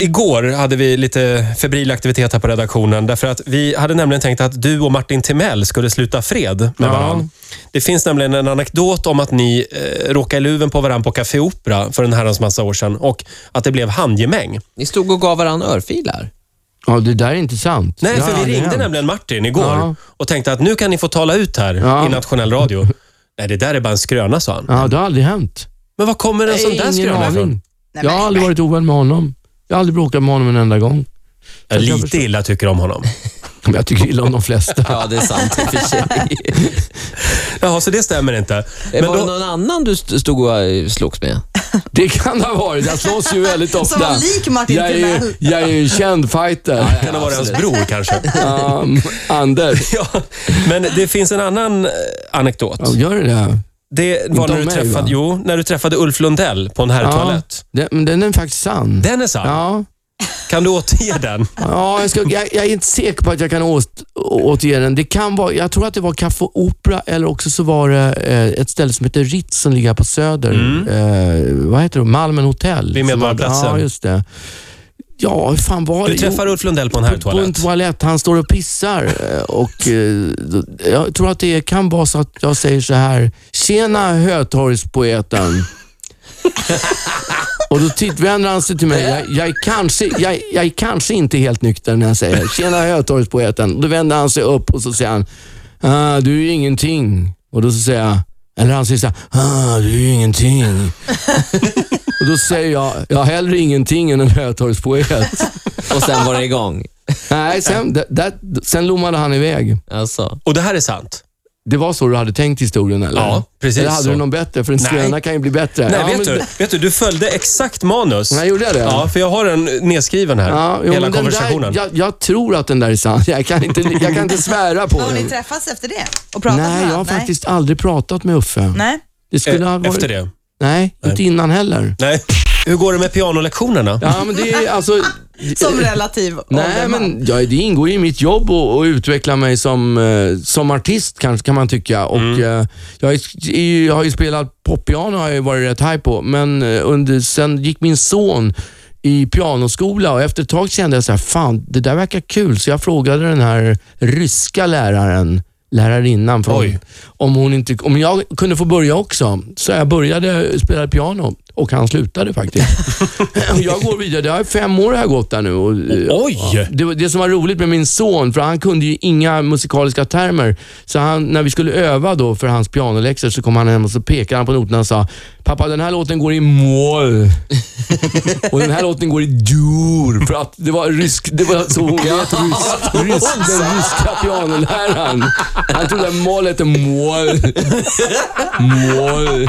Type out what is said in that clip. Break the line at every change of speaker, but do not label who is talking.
Igår hade vi lite febril aktivitet här på redaktionen därför att vi hade nämligen tänkt att du och Martin Timell skulle sluta fred med
Ja.
varandra. Det finns nämligen en anekdot om att ni eh, råkade i luven på varandra på Café Opera för en herrans massa år sedan och att det blev handgemäng.
Ni stod och gav varandra örfilar.
Ja, det där är inte sant.
Nej,
Det har
för vi
aldrig
ringde
hänt.
nämligen Martin igår
Ja.
och tänkte att nu kan ni få tala ut här
Ja.
i nationell radio. Nej, det där är bara en skröna, sa han.
Ja, det har aldrig hänt.
Men var kommer en sån där skröna ifrån?
jag har aldrig varit ovän med honom. Jag har aldrig bråkat med honom en enda gång.
Jag
Jag
lite
förstår.
illa tycker om honom.
Men jag tycker illa om de flesta.
Ja, det är sant i och för sig.
Jaha, så det stämmer inte. Men
var det
då,
någon annan du st- stod och eh, slogs med?
Det kan det ha varit. Jag slåss ju väldigt ofta.
Som var lik Martin
jag är, ju-
Timell.
jag är ju en känd fighter.
kan det vara hans bror kanske?
Ja, Anders.
Ja, men det finns en annan eh, anekdot.
Ja, gör det det?
Det var när
Inte
du,
om mig,
träffade,
va?
jo, när du träffade Ulf Lundell på en herrtoalett.
Den, men den är faktiskt sann.
Den är sann.
Ja,
Kan du återge den?
ja jag, ska, jag, jag är inte säker på att jag kan åt, återge den. Det kan vara, jag tror att det var Café Opera eller också så var det eh, ett ställe som heter Ritz som ligger här på Söder. Eh, vad heter det? Malmen hotell.
Mm. Vid Medborgarplatsen.
Ja, just det. Ja, hur fan var
Du
det?
träffar Ulf Lundell på en
Jo, på en
herrtoalett.
toalett. Han står och pissar. eh, Och, eh, jag tror att det kan vara så att jag säger så här. Tjena Hötorgspoeten. och då titt- vänder han sig till mig. Jag, jag, är kanske, jag, jag är kanske inte helt nykter när jag säger tjena Hötorgspoeten. Då vänder han sig upp och så säger han, ah, du är ju ingenting. Och då så säger jag, eller han säger så här, ah, du är ju ingenting. och då säger jag, jag är hellre ingenting än en Hötorgspoet.
Och sen var det igång.
Nej, sen, d- där- sen lommade han iväg.
Alltså.
Och det här är sant.
Det var så du hade tänkt historien eller?
Ja, precis
Eller hade
så.
du någon bättre? För en
Nej.
skröna kan ju bli bättre.
Nej,
ja,
vet,
men
du,
d-
vet du? Du följde exakt manus.
Nej, gjorde jag det?
Ja, för jag har den nedskriven här.
Ja, jo,
hela
men den
konversationen.
Där, jag, jag tror att den där är sann. Jag kan inte, jag kan inte svära på
Har ni
den.
träffats efter det? Och pratat med
Nej, jag
varandra?
har faktiskt aldrig pratat med Uffe.
Nej.
Det skulle
Eh,
ha varit...
Efter det.
Nej, inte innan heller.
Nej. Hur går det med pianolektionerna?
Ja, men det är alltså...
Som relativ
Nej,
ålderman.
men ja, det ingår ju i mitt jobb att att utveckla mig som, eh, som artist kanske kan man tycka. Och, eh, jag, är- är ju- jag har ju spelat poppiano har jag ju varit rätt high på, men eh, under, sen gick min son i pianoskola och efter ett tag kände jag så här, fan det där verkar kul, så jag frågade den här ryska läraren, lärarinnan, från,
Oj.
om, hon inte, om jag kunde få börja också. Så jag började spela piano och han slutade faktiskt. Och jag går vidare, det har fem år jag har gått där nu. Och, eh,
Oj!
det, var- det som var roligt med min son, för han kunde ju inga musikaliska termer, så han, när vi skulle öva då för hans pianoläxor så kom han hem och så pekade han på noterna och sa “Pappa, den här låten går i moll och den här låten går i dur” för att det var rysk, det var så hon lät rysk, rysk, den ryska pianoläraren. Han trodde att moll hette moll. Moll.